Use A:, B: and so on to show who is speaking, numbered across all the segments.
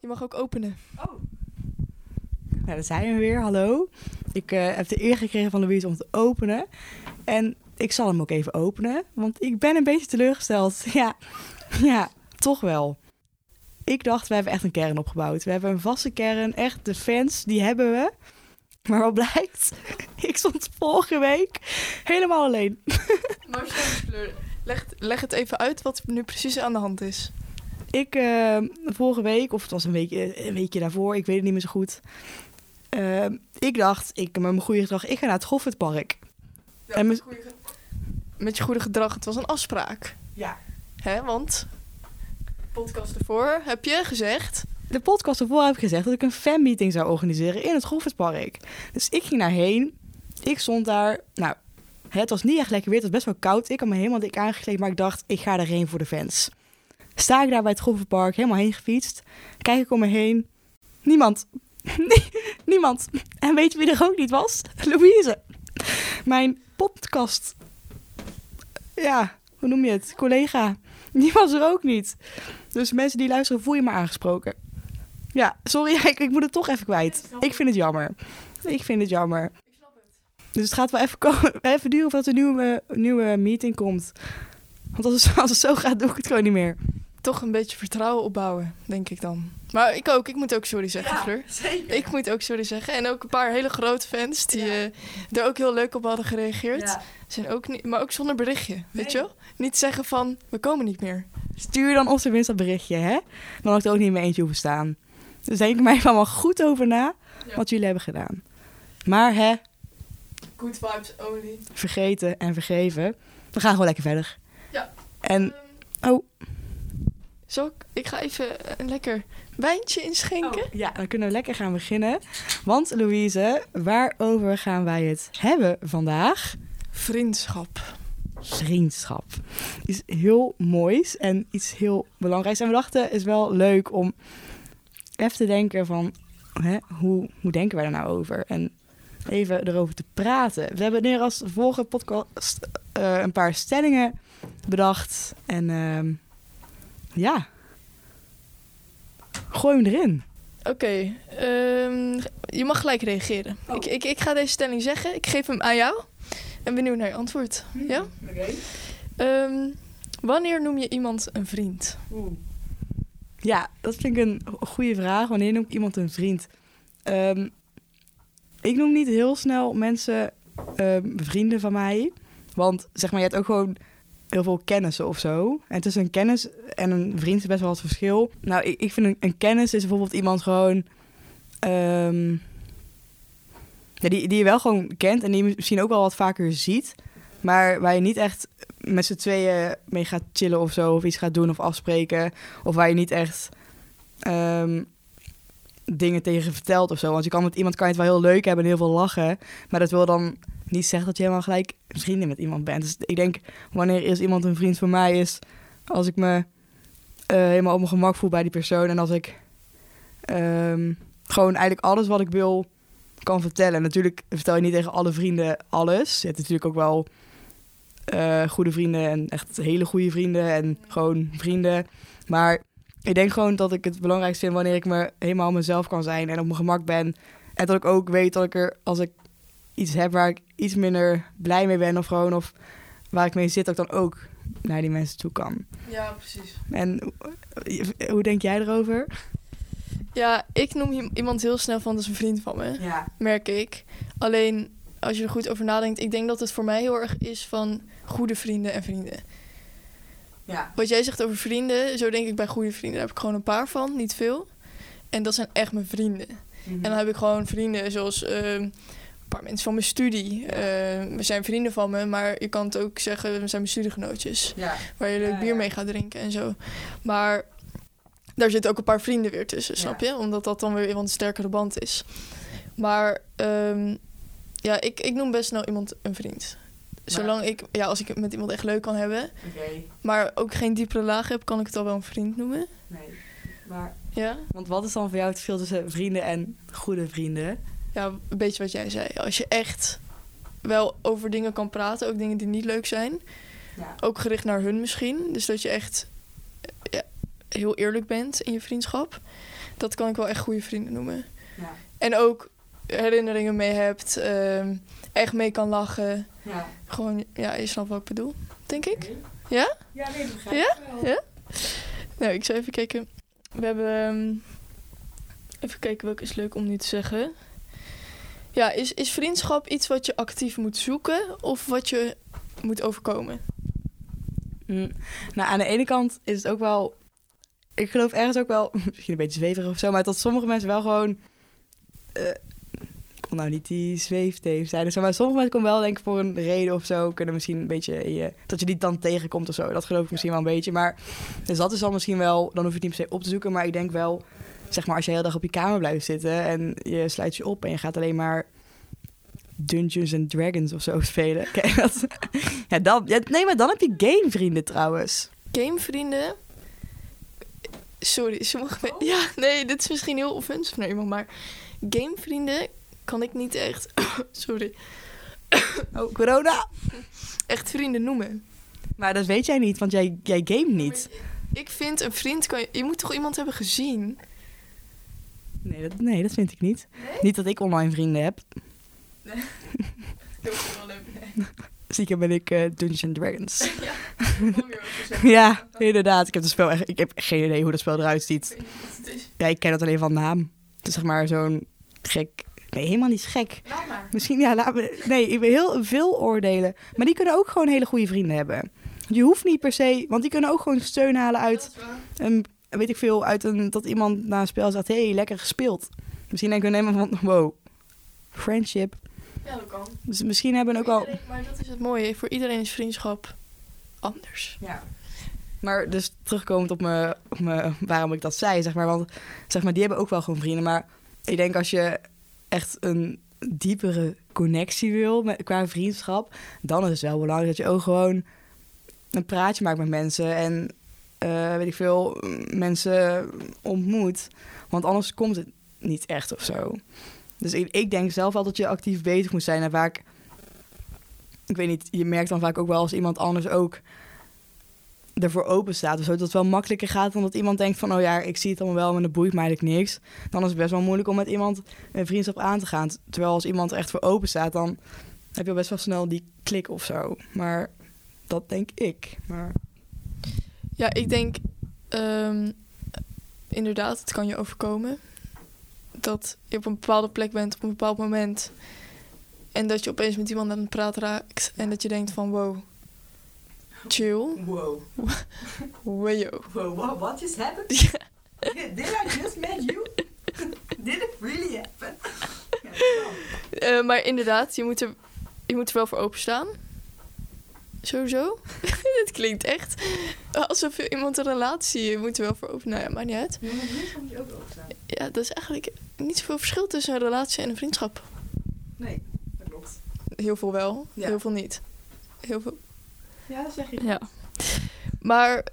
A: Je mag ook openen.
B: Nou, daar zijn we weer. Hallo. Ik eh, heb de eer gekregen van Louise om te openen. En ik zal hem ook even openen, want ik ben een beetje teleurgesteld. Ja, ja toch wel. Ik dacht, we hebben echt een kern opgebouwd. We hebben een vaste kern, echt de fans, die hebben we. Maar wat blijkt, ik stond vorige week helemaal alleen.
A: Leg, leg het even uit wat nu precies aan de hand is.
B: Ik, eh, vorige week, of het was een weekje, een weekje daarvoor, ik weet het niet meer zo goed. Eh, ik dacht, ik, met mijn goede gedrag, ik ga naar het Goffertpark. En met-
A: Met je goede gedrag, het was een afspraak.
B: Ja.
A: Hè, want podcast ervoor heb je gezegd.
B: de podcast ervoor heb ik gezegd dat ik een fanmeeting zou organiseren in het Goffertpark. Dus ik ging daarheen. Ik stond daar. Nou, het was niet echt lekker weer. Het was best wel koud. Ik had me helemaal dik aangekleed, maar ik dacht, ik ga daarheen voor de fans. Sta ik daar bij het Goffertpark, helemaal heen gefietst. Kijk ik om me heen. Niemand. Nee, Niemand. En weet je wie er ook niet was? Louise. Mijn podcast. Ja, hoe noem je het? Collega. Die was er ook niet. Dus mensen die luisteren, voel je me aangesproken. Ja, sorry, ik, ik moet het toch even kwijt. Ik vind het jammer. Ik vind het jammer. Dus het gaat wel even, komen, even duren voordat er een nieuwe, nieuwe meeting komt. Want als het, als het zo gaat, doe ik het gewoon niet meer.
A: Toch een beetje vertrouwen opbouwen, denk ik dan. Maar ik ook, ik moet ook sorry zeggen, Fleur.
B: zeker.
A: Ik moet ook sorry zeggen. En ook een paar hele grote fans die
B: Ja.
A: eh, er ook heel leuk op hadden gereageerd. Zijn ook niet, maar ook zonder berichtje, weet
B: Nee.
A: je wel? Niet zeggen van, we komen niet meer.
B: Stuur dan op zijn minst dat berichtje, hè? Dan had ik er ook niet in mijn eentje hoeven staan. Dus denk er mij even allemaal goed over na
A: Ja.
B: wat jullie hebben gedaan. Maar hè,
A: Good vibes only.
B: vergeten en vergeven. We gaan gewoon lekker verder.
A: Ja.
B: En
A: Ehm,
B: oh.
A: Zal ik, ik ga even een lekker wijntje inschenken.
B: Ja, eh, dan kunnen we lekker gaan beginnen. Want Louise, waarover gaan wij het hebben vandaag?
A: Vriendschap.
B: Vriendschap. Iets heel moois en iets heel belangrijks. En we dachten, het is wel leuk om even te denken van... Hè, hoe, hoe denken wij er nou over? En even erover te praten. We hebben neer als vorige podcast eh, een paar stellingen bedacht. En ehm, ja, gooi hem erin.
A: Oké, ehm, je mag gelijk reageren.
B: Oh.
A: Ik, ik, ik ga deze stelling zeggen. Ik geef hem aan jou. En benieuwd naar je antwoord. Ja? Ehm, wanneer noem je iemand een vriend?
B: Ja, dat vind ik een goede vraag. Wanneer noem ik iemand een vriend? Ehm, ik noem niet heel snel mensen ehm, vrienden van mij. Want zeg maar, je hebt ook gewoon heel veel kennissen of zo. En tussen een kennis en een vriend is best wel wat verschil. Nou, ik, ik vind een, een kennis is bijvoorbeeld iemand gewoon... ehm, ja, die, die je wel gewoon kent en die je misschien ook wel wat vaker ziet. Maar waar je niet echt met z'n tweeën mee gaat chillen of zo. Of iets gaat doen of afspreken. Of waar je niet echt ehm, dingen tegen vertelt of zo. Want je kan met iemand kan je het wel heel leuk hebben en heel veel lachen. Maar dat wil dan niet zeggen dat je helemaal gelijk vrienden met iemand bent. Dus ik denk, wanneer is iemand een vriend van mij, is als ik me eh, helemaal op mijn gemak voel bij die persoon. En als ik ehm, gewoon eigenlijk alles wat ik wil kan vertellen. Natuurlijk vertel je niet tegen alle vrienden alles. Je hebt natuurlijk ook wel eh, goede vrienden en echt hele goede vrienden en gewoon vrienden. Maar ik denk gewoon dat ik het belangrijkste vind wanneer ik me helemaal mezelf kan zijn en op mijn gemak ben. En dat ik ook weet dat ik er, als ik iets heb waar ik iets minder blij mee ben of gewoon, of waar ik mee zit, dat ik dan ook naar die mensen toe kan.
A: Ja, precies.
B: En eh, hoe denk jij erover?
A: Ja, ik noem i- iemand heel snel van, dat is een vriend van me.
B: Ja.
A: merk ik. Alleen als je er goed over nadenkt, ik denk dat het voor mij heel erg is van goede vrienden en vrienden.
B: Ja.
A: Wat jij zegt over vrienden, zo denk ik bij goede vrienden. Daar heb ik gewoon een paar van, niet veel. En dat zijn echt mijn vrienden.
B: Mhm.
A: En dan heb ik gewoon vrienden zoals ehm, een paar mensen van mijn studie. Ehm, we zijn vrienden van me, maar je kan het ook zeggen, we zijn mijn studiegenootjes.
B: ja.
A: Waar je leuk
B: Ja,
A: bier
B: ja.
A: mee gaat drinken en zo. Maar daar zitten ook een paar vrienden weer tussen, snap je? Omdat dat dan weer iemand een sterkere band is. Maar ehm, ja, ik, ik noem best snel iemand een vriend. Zolang ik, ja, als ik het met iemand echt leuk kan hebben,
B: Oké,
A: maar ook geen diepere laag heb, kan ik het al wel een vriend noemen.
B: nee. Maar...
A: Ja,
B: Want wat is dan voor jou het verschil tussen vrienden en goede vrienden?
A: ja een beetje wat jij zei. Als je echt wel over dingen kan praten, ook dingen die niet leuk zijn.
B: Ja.
A: Ook gericht naar hun misschien. Dus dat je echt eh, ja, heel eerlijk bent in je vriendschap. dat kan ik wel echt goede vrienden noemen.
B: Ja.
A: En ook herinneringen mee hebt, ehm, echt mee kan lachen.
B: Ja.
A: Gewoon, ja, je snapt wat ik bedoel, denk ik.
B: Ja, nee, dat begrijp
A: Ja?
B: ik wel.
A: Ja? Nou, ik zou even kijken. We hebben. ehm, even kijken welke is leuk om nu te zeggen. Ja, is, is vriendschap iets wat je actief moet zoeken of wat je moet overkomen?
B: Mm. Nou, aan de ene kant is het ook wel... Ik geloof ergens ook wel, misschien een beetje zweverig of zo... maar dat sommige mensen wel gewoon... eh, ik kon nou niet die zweefteef zijn of zo... maar sommige mensen komen wel denk ik voor een reden of zo... kunnen misschien een beetje... in je- dat je die dan tegenkomt of zo. Dat geloof ik misschien wel een beetje. Maar dus dat is dan misschien wel... dan hoef je het niet per se op te zoeken... maar ik denk wel... zeg maar als je de hele dag op je kamer blijft zitten... en je sluit je op en je gaat alleen maar... Dungeons and Dragons of zo spelen. Kijk, dat, ja, dan, ja, nee, maar dan heb je gamevrienden trouwens.
A: Gamevrienden. Sorry, sommige me- Ja, nee, dit is misschien heel offensief naar iemand, maar gamevrienden kan ik niet echt. sorry.
B: Oh, corona.
A: Echt vrienden noemen.
B: Maar dat weet jij niet, want jij, jij game niet.
A: Ik vind een vriend kan je. Je moet toch iemand hebben gezien?
B: Nee dat, nee, dat vind ik niet. Niet dat ik online vrienden heb. Stiekem ben ik eh, Dungeons and Dragons. ja, inderdaad. Ik heb, het spel echt, ik heb geen idee hoe dat spel eruit ziet. Ja, ik ken het alleen van naam. Het is zeg maar zo'n gek... Nee, helemaal niet gek.
A: Laat maar.
B: Misschien, ja, laat me... Nee, ik wil heel veel oordelen. Maar die kunnen ook gewoon hele goede vrienden hebben. Je hoeft niet per se... Want die kunnen ook gewoon steun halen uit... een, weet ik veel, uit een, dat iemand na een spel zegt, hé, hey, lekker gespeeld. Misschien denken we helemaal van, wow, friendship.
A: Ja, dat kan.
B: Dus misschien hebben we ook al...
A: maar dat is het mooie. Voor iedereen is vriendschap anders.
B: Maar dus terugkomend op, me, op me, waarom ik dat zei, zeg maar. Want zeg maar, die hebben ook wel gewoon vrienden. Maar ik denk als je echt een diepere connectie wil met, qua vriendschap... dan is het wel belangrijk dat je ook gewoon een praatje maakt met mensen... en eh, weet ik veel, mensen ontmoet. Want anders komt het niet echt of zo. Dus ik, ik denk zelf wel dat je actief bezig moet zijn. En vaak, ik weet niet, je merkt dan vaak ook wel als iemand anders ook ervoor open staat of zo, dat het wel makkelijker gaat dan dat iemand denkt van, oh ja, ik zie het allemaal wel, maar dat boeit mij eigenlijk niks. Dan is het best wel moeilijk om met iemand een vriendschap aan te gaan. Terwijl als iemand er echt voor open staat, dan heb je al best wel snel die klik of zo. Maar dat denk ik. Maar
A: Ja, ik denk ehm, inderdaad, het kan je overkomen. Dat je op een bepaalde plek bent op een bepaald moment. En dat je opeens met iemand aan het praten raakt. En dat je denkt van wow, chill,
B: wow,
A: wayo.
B: wow, what, just happened? Did I just met you? Did it really happen?
A: Eh, maar inderdaad, je moet, er, je moet er wel voor openstaan. Sowieso. Het klinkt echt alsof je iemand een relatie... Je moet er wel voor open... Nou ja, maakt niet uit. Ja, dat is eigenlijk niet zoveel verschil tussen een relatie en een vriendschap.
B: Nee, dat klopt.
A: Heel veel wel,
B: Ja.
A: heel veel niet. Heel veel,
B: Ja, dat zeg je.
A: ja. Maar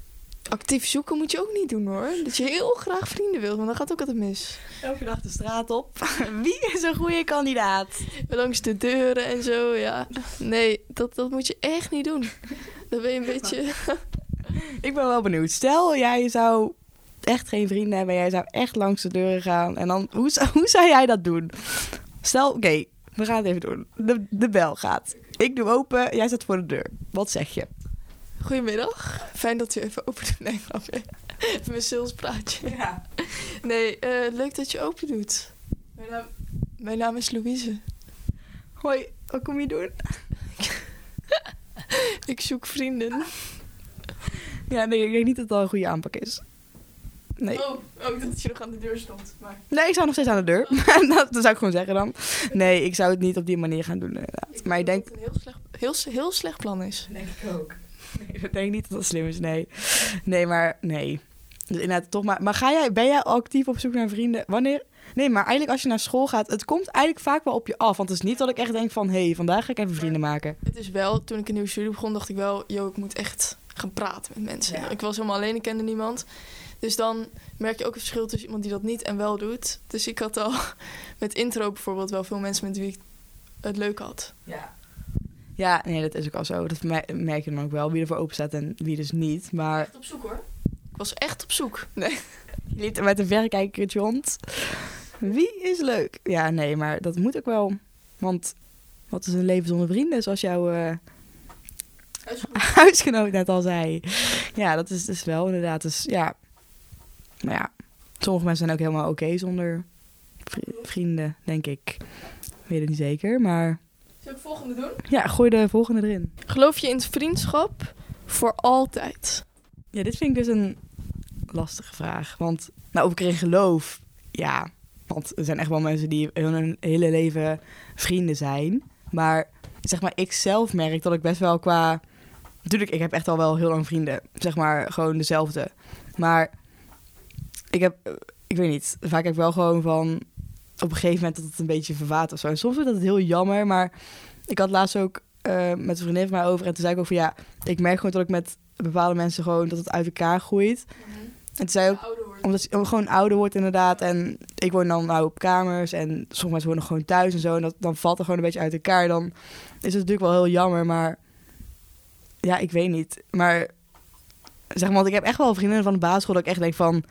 A: actief zoeken moet je ook niet doen hoor. Dat je heel graag vrienden wilt, want dan gaat ook altijd mis.
B: Elke dag de straat op. Wie is een goede kandidaat?
A: Langs de deuren en zo, ja. Nee, dat, dat moet je echt niet doen. Dan ben je een beetje...
B: Ik ben wel benieuwd. Stel, jij zou echt geen vrienden hebben. Jij zou echt langs de deuren gaan. En dan, hoe, zou- hoe zou jij dat doen? Stel, oké, we gaan het even doen. De, de bel gaat. Ik doe open, jij staat voor de deur. Wat zeg je?
A: Goedemiddag. Fijn dat u even open doet. Nee, grapje. Even mijn salespraatje.
B: Ja.
A: Nee, eh, leuk dat je open doet. Mijn naam, mijn naam is Louise.
B: Hoi, wat kom je doen?
A: Ik zoek vrienden.
B: Ja, nee, ik denk niet dat dat een goede aanpak is. Nee.
A: Oh, ook dat je nog aan de deur stond. Maar
B: Nee, ik zou nog steeds aan de deur. Maar dat, dat zou ik gewoon zeggen dan. Nee, ik zou het niet op die manier gaan doen. inderdaad. Maar ik denk
A: dat het een heel slecht, heel, s- heel slecht plan is.
B: Denk ik ook. Nee, dat denk ik niet dat dat slim is, nee. Nee, maar nee. Dus inderdaad, toch maar. Maar ga jij, ben jij actief op zoek naar vrienden? Wanneer? Nee, maar eigenlijk als je naar school gaat, het komt eigenlijk vaak wel op je af. Want het is niet dat ik echt denk van, hé, hey, vandaag ga ik even vrienden maken.
A: Het is wel, toen ik een nieuwe studie begon, dacht ik wel, yo, ik moet echt gaan praten met mensen.
B: Ja.
A: Ik was helemaal alleen, ik kende niemand. Dus dan merk je ook het verschil tussen iemand die dat niet en wel doet. Dus ik had al met intro bijvoorbeeld wel veel mensen met wie ik het leuk had.
B: Ja. Ja, nee, dat is ook al zo. Dat me- merk je dan ook wel, wie ervoor open staat en wie dus niet. Maar
A: op zoek hoor. Ik was echt op zoek. Nee.
B: Je liet met een verrekijkertje rond. Wie is leuk? Ja, nee, maar dat moet ook wel. Want wat is een leven zonder vrienden, zoals jouw eh, huisgenoot net al zei. Ja, dat is dus wel inderdaad. Dus ja, maar ja, sommige mensen zijn ook helemaal oké zonder vri- vrienden, denk ik. Ik weet het niet zeker, maar
A: Zullen we het volgende doen?
B: ja, gooi de volgende erin.
A: Geloof je in vriendschap voor altijd?
B: Ja, dit vind ik dus een lastige vraag. Want, nou, of ik erin geloof, ja. Want er zijn echt wel mensen die hun hun hele leven vrienden zijn. Maar zeg maar, ik zelf merk dat ik best wel qua... Natuurlijk, ik heb echt al wel heel lang vrienden. Zeg maar, gewoon dezelfde. Maar ik heb, eh, ik weet niet, vaak heb ik wel gewoon van... Op een gegeven moment dat het een beetje verwaat of zo. En soms vind ik dat heel jammer, maar ik had laatst ook eh, met een vriendin van mij over. En toen zei ik ook van ja, ik merk gewoon dat ik met bepaalde mensen gewoon dat het uit elkaar groeit. En toen zei ook, omdat je gewoon ouder wordt inderdaad. En ik woon dan nou op kamers en sommige mensen wonen gewoon thuis en zo. En dat, dan valt er gewoon een beetje uit elkaar. Dan is het natuurlijk wel heel jammer, maar ja, ik weet niet. Maar zeg maar, want ik heb echt wel vriendinnen van de basisschool dat ik echt denk van...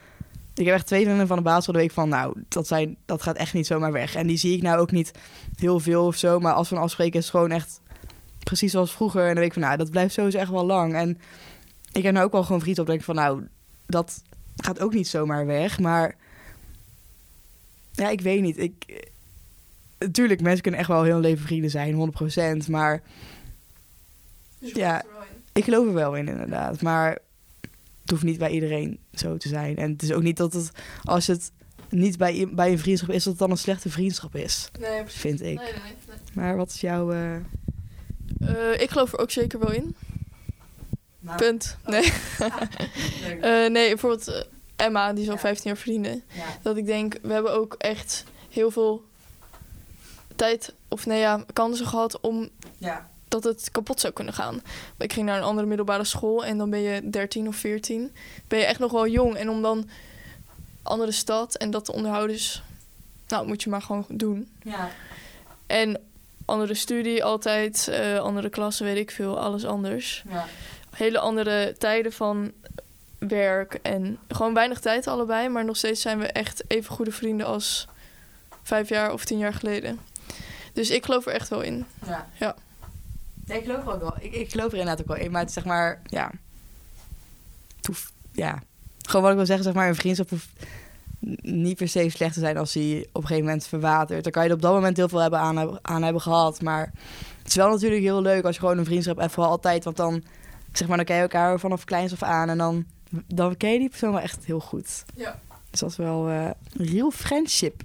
B: Ik heb echt twee vriendinnen van de basisschool dat ik van, nou, dat, zijn, dat gaat echt niet zomaar weg. En die zie ik nou ook niet heel veel of zo. Maar als we een afspreken is het gewoon echt precies zoals vroeger. En dan weet ik van, nou, dat blijft sowieso echt wel lang. En ik heb nou ook wel gewoon vrienden op dat ik van, nou, dat gaat ook niet zomaar weg. Maar ja, ik weet niet. Ik... Natuurlijk, mensen kunnen echt wel heel hun leven vrienden zijn, 100%. Maar Ja. Dus ik geloof er wel in, inderdaad. Maar het hoeft niet bij iedereen zo te zijn. En het is ook niet dat het, als het niet bij, i- bij een vriendschap is, dat het dan een slechte vriendschap is.
A: Nee,
B: Vind ik. Maar wat is jouw... eh,
A: Eh, ik geloof er ook zeker wel in.
B: Nou.
A: Punt. Nee. Eh, nee, bijvoorbeeld eh, Emma, die is al
B: Ja.
A: 15 jaar vrienden. Dat ik denk, we hebben ook echt heel veel tijd, of nee ja, kansen gehad om
B: ja.
A: dat het kapot zou kunnen gaan. Ik ging naar een andere middelbare school en dan ben je 13 of 14. Ben je echt nog wel jong. En om dan andere stad en dat te onderhouden is... Nou, moet je maar gewoon doen.
B: ja.
A: En andere studie altijd, eh, andere klassen, weet ik veel, alles anders.
B: ja.
A: Hele andere tijden van werk en gewoon weinig tijd allebei. Maar nog steeds zijn we echt even goede vrienden als vijf jaar of tien jaar geleden. Dus ik geloof er echt wel in.
B: Ja.
A: Ja.
B: Nee, ik geloof er ook wel. Ik, ik geloof er inderdaad ook wel in. Maar het is zeg maar, ja. Het hoeft- ja. Gewoon wat ik wil zeggen, zeg maar, een vriendschap hoeft n- niet per se slecht te zijn als die op een gegeven moment verwatert. Dan kan je er op dat moment heel veel hebben aan, heb- aan hebben gehad. Maar het is wel natuurlijk heel leuk als je gewoon een vriendschap hebt voor altijd. Want dan, zeg maar, dan ken je elkaar vanaf kleins af aan. En dan, dan ken je die persoon wel echt heel goed.
A: Ja.
B: Dus dat is wel eh, real friendship.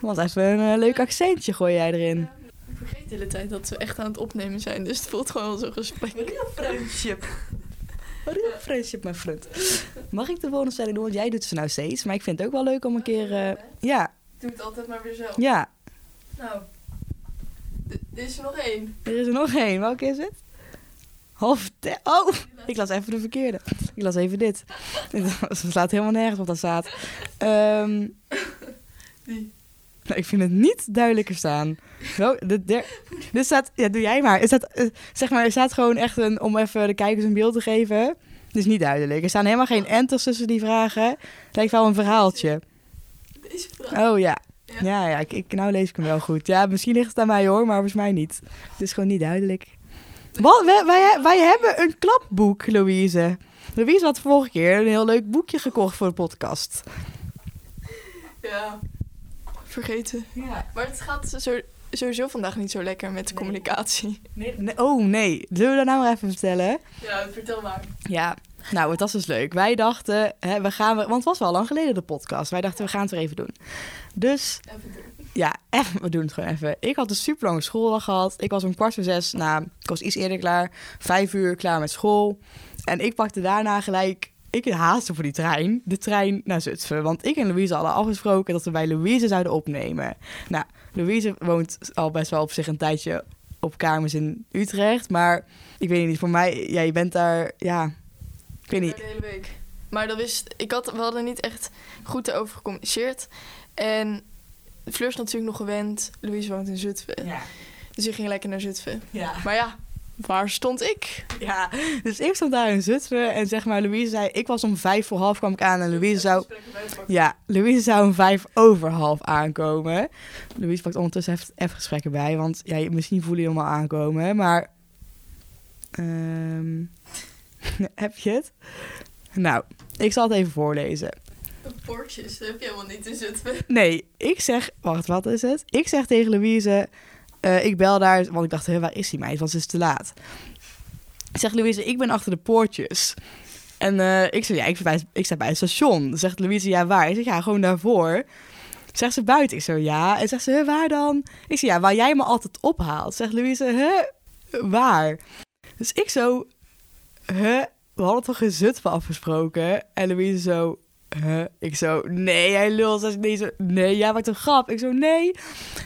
B: Want even een eh, leuk accentje gooi jij erin.
A: Ik vergeet de hele tijd dat we echt aan het opnemen zijn, dus het voelt gewoon als een gesprek.
B: Real friendship. Real friendship, mijn vriend. Mag ik de volgende stelling doen? Want jij doet ze nou steeds. Maar ik vind het ook wel leuk om een keer... eh, ja,
A: doe het altijd maar weer zelf.
B: ja.
A: Nou, er is er nog één.
B: Er is er nog één. Welke is het? Half te- Oh, ik las even de verkeerde. Ik las even dit. Het slaat helemaal nergens op dat staat. Ehm,
A: Die.
B: nou, ik vind het niet duidelijker staan. Wel, de der- dit staat... Ja, doe jij maar. Er staat, eh, zeg maar, er staat gewoon echt een... Om even de kijkers een beeld te geven. Het is niet duidelijk. Er staan helemaal geen enters tussen die vragen. Het lijkt wel een verhaaltje.
A: Deze vraag.
B: Oh ja.
A: Ja.
B: Ja, ja ik, ik, nou lees ik hem wel goed. Ja, misschien ligt het aan mij hoor, maar volgens mij niet. Het is gewoon niet duidelijk. Wat, wij, wij, wij hebben een klapboek, Louise. Louise had vorige keer een heel leuk boekje gekocht voor de podcast.
A: Ja. Vergeten.
B: Ja.
A: Maar het gaat zo- sowieso vandaag niet zo lekker met de
B: Nee.
A: communicatie.
B: oh nee, zullen we dat nou maar even vertellen?
A: Ja, vertel maar.
B: Ja, nou, het was dus leuk. Wij dachten, hè, we gaan... we- Want het was wel lang geleden de podcast. Wij dachten, we gaan het weer even doen. Dus
A: Even doen.
B: Ja, even, we doen het gewoon even. Ik had een super lange schooldag gehad. Ik was om kwart voor zes, nou, ik was iets eerder klaar. Vijf uur klaar met school. En ik pakte daarna gelijk, ik haastte voor die trein, de trein naar Zutphen. Want ik en Louise hadden afgesproken dat we bij Louise zouden opnemen. Nou, Louise woont al best wel op zich een tijdje op kamers in Utrecht. Maar ik weet niet, voor mij, ja, je bent daar, ja, ik weet niet.
A: De hele week. Maar dat wist, ik had, we hadden niet echt goed erover gecommuniceerd. En Fleur is natuurlijk nog gewend. Louise woont in Zutphen.
B: Ja,
A: Dus die ging lekker naar Zutphen.
B: ja.
A: Maar ja, waar stond ik?
B: Ja, dus ik stond daar in Zutphen en zeg maar, Louise zei, ik was om vijf voor half kwam ik aan en Louise zou, ja, Louise zou om vijf over half aankomen. Louise pakt ondertussen even, even gesprekken bij, want ja, misschien voelen jullie hem al aankomen, maar ehm, heb je het? Nou, ik zal het even voorlezen.
A: Bordjes heb je helemaal niet in Zutphen.
B: Nee, ik zeg, wacht, wat is het? Ik zeg tegen Louise, eh, ik bel daar, want ik dacht, hè, waar is die meid? Want ze is te laat. Ik zeg Louise, ik ben achter de poortjes. En eh, ik zeg, ja, ik, ben bij, ik sta bij het station. Zegt Louise, ja, waar? Ik zeg, ja, gewoon daarvoor. Zegt ze buiten? Ik zo, ja. En zegt ze, hè, waar dan? Ik zeg, ja, waar jij me altijd ophaalt. Zegt Louise, hè, waar? Dus ik zo, hè, we hadden toch in Zutphen afgesproken? En Louise zo, Huh? Ik zo, nee, hij lult. Als ik nee, zo, nee, jij maakt een grap. Ik zo, nee.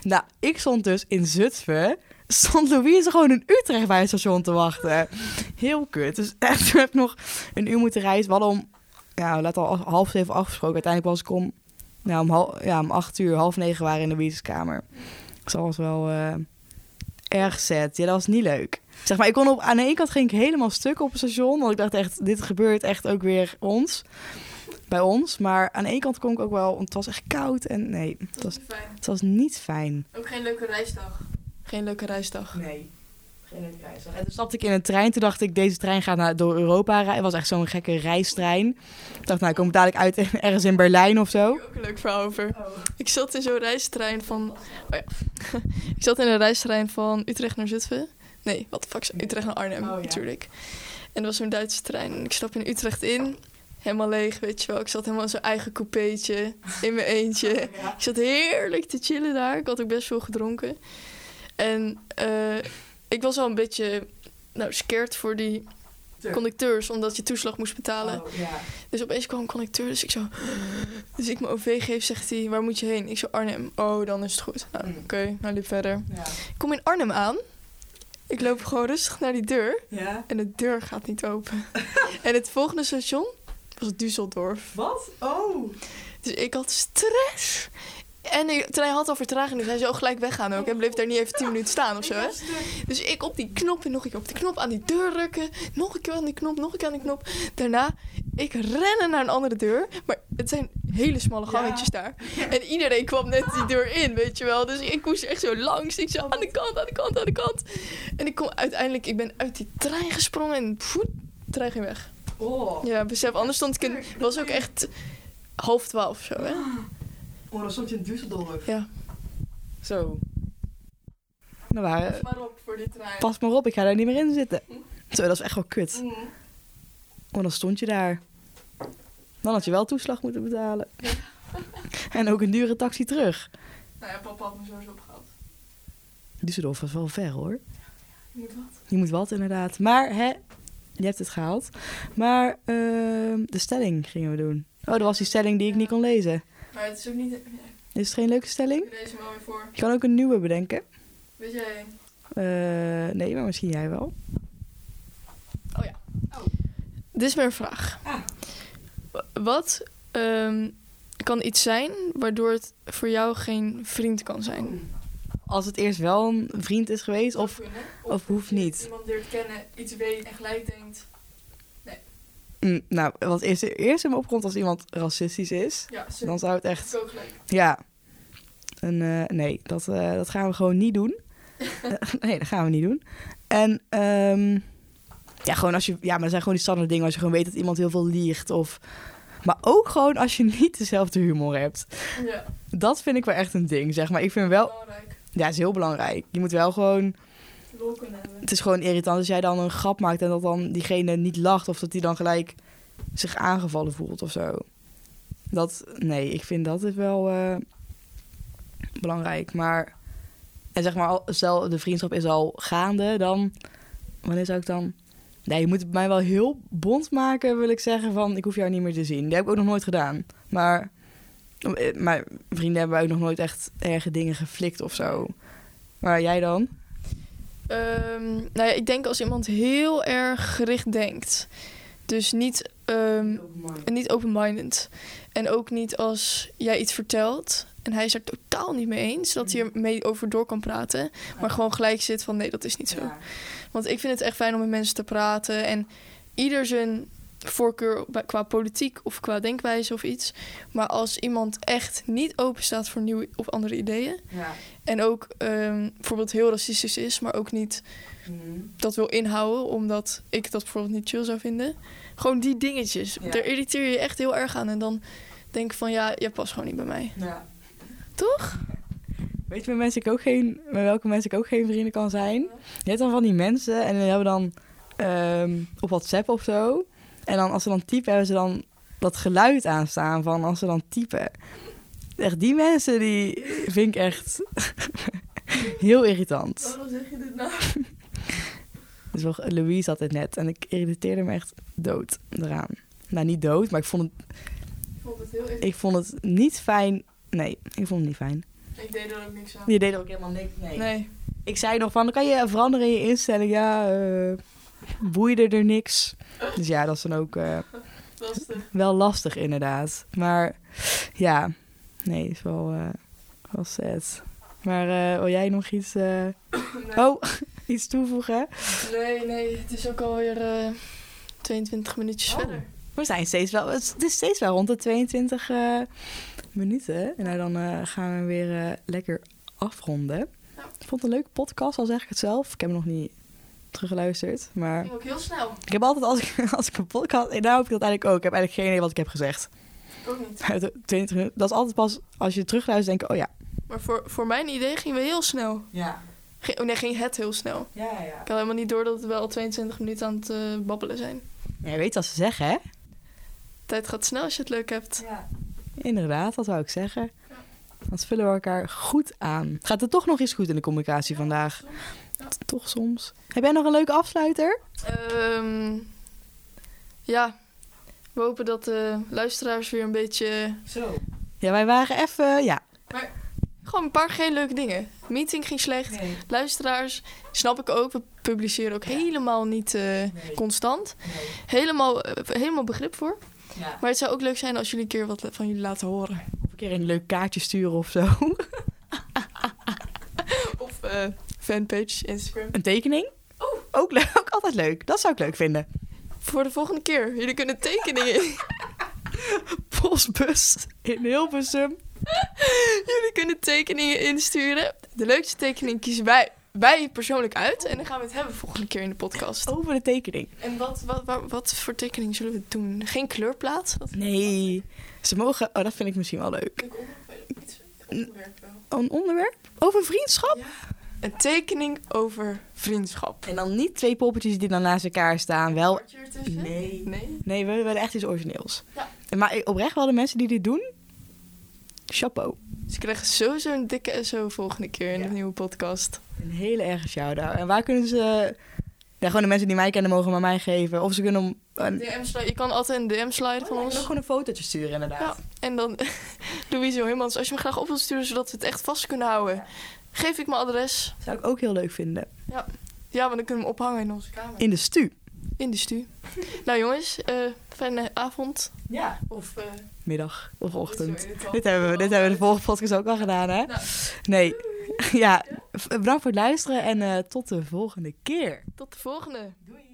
B: Nou, ik stond dus in Zutphen. Stond Louise gewoon in Utrecht bij het station te wachten. Heel kut. Dus echt, toen heb ik nog een uur moeten reizen. We hadden om, ja, laat al half zeven afgesproken. Uiteindelijk was ik om, nou, om, hal- ja, om acht uur, half negen waren in Louise's kamer. Dus dat was wel eh, erg zet. Ja, dat was niet leuk. Zeg maar, ik kon op, aan de ene kant ging ik helemaal stuk op het station. Want ik dacht echt, dit gebeurt echt ook weer ons bij ons. Maar aan de ene kant kon ik ook wel, want het was echt koud en nee, het was,
A: fijn.
B: het was niet fijn.
A: Ook geen leuke reisdag. Geen leuke reisdag.
B: Nee, geen En toen stapte ik in een trein, toen dacht ik, deze trein gaat naar, door Europa. Het was echt zo'n gekke reistrein. Ik dacht, nou, ik kom dadelijk uit ergens in Berlijn of zo.
A: Daar heb ik ook een leuk verhaal over. Ik zat in zo'n reistrein van... Oh ja. ik zat in een reistrein van Utrecht naar Zutphen. Nee, wat de fuck, is- Utrecht naar Arnhem
B: Oh, ja.
A: natuurlijk. En dat was zo'n Duitse trein. En ik stap in Utrecht in. Helemaal leeg, weet je wel. Ik zat helemaal in zo'n eigen coupeetje. In mijn eentje.
B: Oh,
A: Ik zat heerlijk te chillen daar. Ik had ook best veel gedronken. En eh, ik was al een beetje nou, scared voor die conducteurs, omdat je toeslag moest betalen.
B: Oh,
A: Dus opeens kwam een conducteur, dus ik zo... Dus ik mijn OV geef, zegt hij, waar moet je heen? Ik zo, Arnhem. Oh, dan is het goed. Nou,
B: Mm.
A: oké, nou liep verder. Ik kom in Arnhem aan. Ik loop gewoon rustig naar die deur. En de deur gaat niet open. en het volgende station was Düsseldorf.
B: Wat? Oh.
A: Dus ik had stress. En de trein had al vertraging, dus hij zou gelijk weggaan ook. En bleef daar niet even 10 minuten staan of zo. Hè? Dus ik op die knop en nog een keer op die knop aan die deur drukken. Nog een keer aan die knop, nog een keer aan die knop. Daarna, ik rennen naar een andere deur. Maar het zijn hele smalle
B: Ja.
A: gangetjes daar. En iedereen kwam net die deur in, weet je wel. Dus ik moest echt zo langs. Ik zo aan de kant, aan de kant, aan de kant. En ik kom uiteindelijk, ik ben uit die trein gesprongen en voet, de trein ging weg.
B: Oh.
A: Ja, besef, anders stond ik in, was ook echt half twaalf of zo, hè.
B: Oh, dan stond je in Düsseldorf.
A: Ja.
B: Zo. Nou, waren,
A: maar op voor dit trein. Hm.
B: pas maar op, ik ga daar niet meer in zitten. Zo, dat is echt wel kut. Oh, dan stond je daar. Dan had je wel toeslag moeten betalen. en ook een dure taxi terug.
A: Nou ja, papa had me sowieso opgehaald.
B: Düsseldorf was wel ver hoor.
A: Je moet wat?
B: Je moet wat inderdaad. Maar hè, je hebt het gehaald. Maar ehm, de stelling gingen we doen. Oh, dat was die stelling die ik niet kon lezen.
A: Maar het is ook niet...
B: Is het geen leuke stelling?
A: Ik lees hem wel weer voor.
B: Je kan ook een nieuwe bedenken.
A: Weet jij...
B: Eh, nee, maar misschien jij wel.
A: Dit is mijn vraag. W- Wat ehm, kan iets zijn waardoor het voor jou geen vriend kan zijn?
B: Als het eerst wel een vriend is geweest of of hoeft
A: je
B: niet.
A: Iemand leert kennen, iets weet en gelijk denkt.
B: Mm, nou, wat eerst, eerst in me opkomt als iemand racistisch is,
A: Ja,
B: dan zou het echt
A: ook gelijk.
B: Ja. En, eh, nee, dat, eh, dat gaan we gewoon niet doen. Eh, nee, dat gaan we niet doen. En ehm, ja, gewoon als je, ja, maar dat zijn gewoon die standaard dingen als je gewoon weet dat iemand heel veel liegt. Of, maar ook gewoon als je niet dezelfde humor hebt.
A: Ja,
B: Dat vind ik wel echt een ding, zeg maar. Ik vind wel,
A: belangrijk.
B: ja, is heel belangrijk. Je moet wel gewoon,
A: Lol kunnen hebben.
B: het is gewoon irritant als jij dan een grap maakt en dat dan diegene niet lacht. Of dat die dan gelijk zich aangevallen voelt of zo. Dat, nee, ik vind dat is wel eh, belangrijk. Maar, en zeg maar, al- stel de vriendschap is al gaande, dan, wanneer zou ik dan... Nee, je moet het mij wel heel bond maken, wil ik zeggen, van ik hoef jou niet meer te zien. Dat heb ik ook nog nooit gedaan. Maar eh, mijn vrienden hebben ook nog nooit echt erge dingen geflikt of zo. Maar jij dan?
A: Ehm, nou ja, ik denk als iemand heel erg gericht denkt. Dus niet, ehm, niet open-minded. En ook niet als jij iets vertelt en hij is er totaal niet mee eens, dat hij ermee over door kan praten. Maar gewoon gelijk zit van nee, dat is niet zo. Want ik vind het echt fijn om met mensen te praten. En ieder zijn voorkeur bij- qua politiek of qua denkwijze of iets. Maar als iemand echt niet open staat voor nieuwe of andere ideeën.
B: Ja.
A: En ook ehm, bijvoorbeeld heel racistisch is, maar ook niet dat wil inhouden, omdat ik dat bijvoorbeeld niet chill zou vinden. Gewoon die dingetjes.
B: Ja.
A: Daar irriteer je je echt heel erg aan. En dan denk ik van ja, jij past gewoon niet bij mij.
B: ja.
A: Toch?
B: Weet je met, mensen ik ook geen, met welke mensen ik ook geen vrienden kan zijn? Je hebt dan van die mensen en die hebben dan ehm, op WhatsApp of zo. En dan als ze dan typen, hebben ze dan dat geluid aanstaan van als ze dan typen. Echt, die mensen die vind ik echt heel irritant.
A: Waarom zeg je dit nou?
B: Dus wel, Louise had het net en ik irriteerde me echt dood eraan. Nou, niet dood, maar ik vond het,
A: Ik vond het heel
B: ik vond het niet fijn. Nee, ik vond het niet fijn.
A: Ik deed er ook niks aan.
B: Je deed er ook helemaal niks mee.
A: Nee.
B: Ik zei nog van, dan kan je veranderen in je instelling. Ja, eh boeide er niks. Dus ja, dat is dan ook eh, wel lastig inderdaad. Maar ja, nee, is wel, eh wel sad. Maar eh, wil jij nog iets, eh, oh, iets toevoegen?
A: Nee, nee, het is ook alweer eh 22 minuutjes
B: Oh.
A: verder.
B: We zijn steeds wel, het is steeds wel rond de 22 eh, minuten. En nou, dan eh, gaan we weer eh, lekker afronden.
A: Ja.
B: Ik vond het een leuke podcast, al zeg ik het zelf. Ik heb hem nog niet teruggeluisterd, maar...
A: Ging ook heel snel.
B: Ik heb altijd, als ik, als ik een podcast... En daar heb ik dat eigenlijk ook. Ik heb eigenlijk geen idee wat ik heb gezegd.
A: Ik ook niet.
B: 20 minuten. Dat is altijd pas als je terugluistert denk ik... Oh ja.
A: Maar voor, voor mijn idee gingen we heel snel.
B: Ja,
A: Ging- oh nee, ging het heel snel.
B: ja, ja.
A: Ik had helemaal niet door dat we al 22 minuten aan het eh, babbelen zijn.
B: Je weet wat ze zeggen, hè?
A: Tijd gaat snel als je het leuk hebt.
B: Ja. Inderdaad, dat wou ik zeggen. Dan vullen we elkaar goed aan. Gaat het toch nog eens goed in de communicatie vandaag? T- Toch soms. Heb jij nog een leuke afsluiter?
A: Ehm, ja, we hopen dat de luisteraars weer een beetje...
B: Zo. Ja, wij waren even... Ja.
A: Gewoon een paar geen leuke dingen. Meeting ging slecht. Luisteraars, snap ik ook. We publiceren ook helemaal niet eh, constant. Helemaal, eh, helemaal begrip voor. Maar het zou ook leuk zijn als jullie een keer wat van jullie laten horen.
B: Of een keer een leuk kaartje sturen of zo.
A: Of eh, fanpage, Instagram.
B: Een tekening? Oh. Ook, leuk, ook altijd leuk. Dat zou ik leuk vinden.
A: Voor de volgende keer. Jullie kunnen tekeningen in.
B: postbus in Hilversum.
A: jullie kunnen tekeningen insturen. De leukste tekening kiezen wij, wij persoonlijk uit. En dan gaan we het hebben volgende keer in de podcast.
B: Over de tekening.
A: En wat, wat, wat, wat voor tekening zullen we doen? Geen kleurplaat? Wat-
B: Nee. Ze mogen... Oh, dat vind ik misschien wel leuk.
A: Ik onderwerp- iets- onderwerp wel.
B: Een onderwerp? Over vriendschap?
A: Een tekening over vriendschap.
B: En dan niet twee poppetjes die dan naast elkaar staan. Wel...
A: Hartje ertussen?
B: Nee.
A: Nee?
B: Nee, we willen echt iets origineels.
A: Ja.
B: En Maar oprecht wel de mensen die dit doen... Chapeau.
A: Ze krijgen Dus sowieso een dikke SO volgende keer in
B: Ja.
A: de nieuwe podcast.
B: Een hele erge shout-out. En waar kunnen ze... Ja, gewoon de mensen die mij kennen mogen maar mij geven. Of ze kunnen... om- Een...
A: DM slide. Je kan altijd een DM slide van
B: Oh, ook
A: ons.
B: gewoon een fotootje sturen
A: Ja,
B: inderdaad.
A: en dan Louise Heemans, als je me graag op wilt sturen zodat we het echt vast kunnen houden, geef ik mijn adres.
B: Zou ik ook heel leuk vinden.
A: Ja, want dan kunnen we hem ophangen in onze kamer.
B: In de stu.
A: In de stu. nou jongens, eh, fijne avond.
B: Ja.
A: Of eh,
B: Middag of
A: dit
B: ochtend.
A: is wel in het al.
B: Dit hebben, we, dit hebben we de vorige podcast ook al gedaan, hè?
A: Nou.
B: Nee. Ja, bedankt voor het luisteren en eh, tot de volgende keer.
A: Tot de volgende.
B: Doei.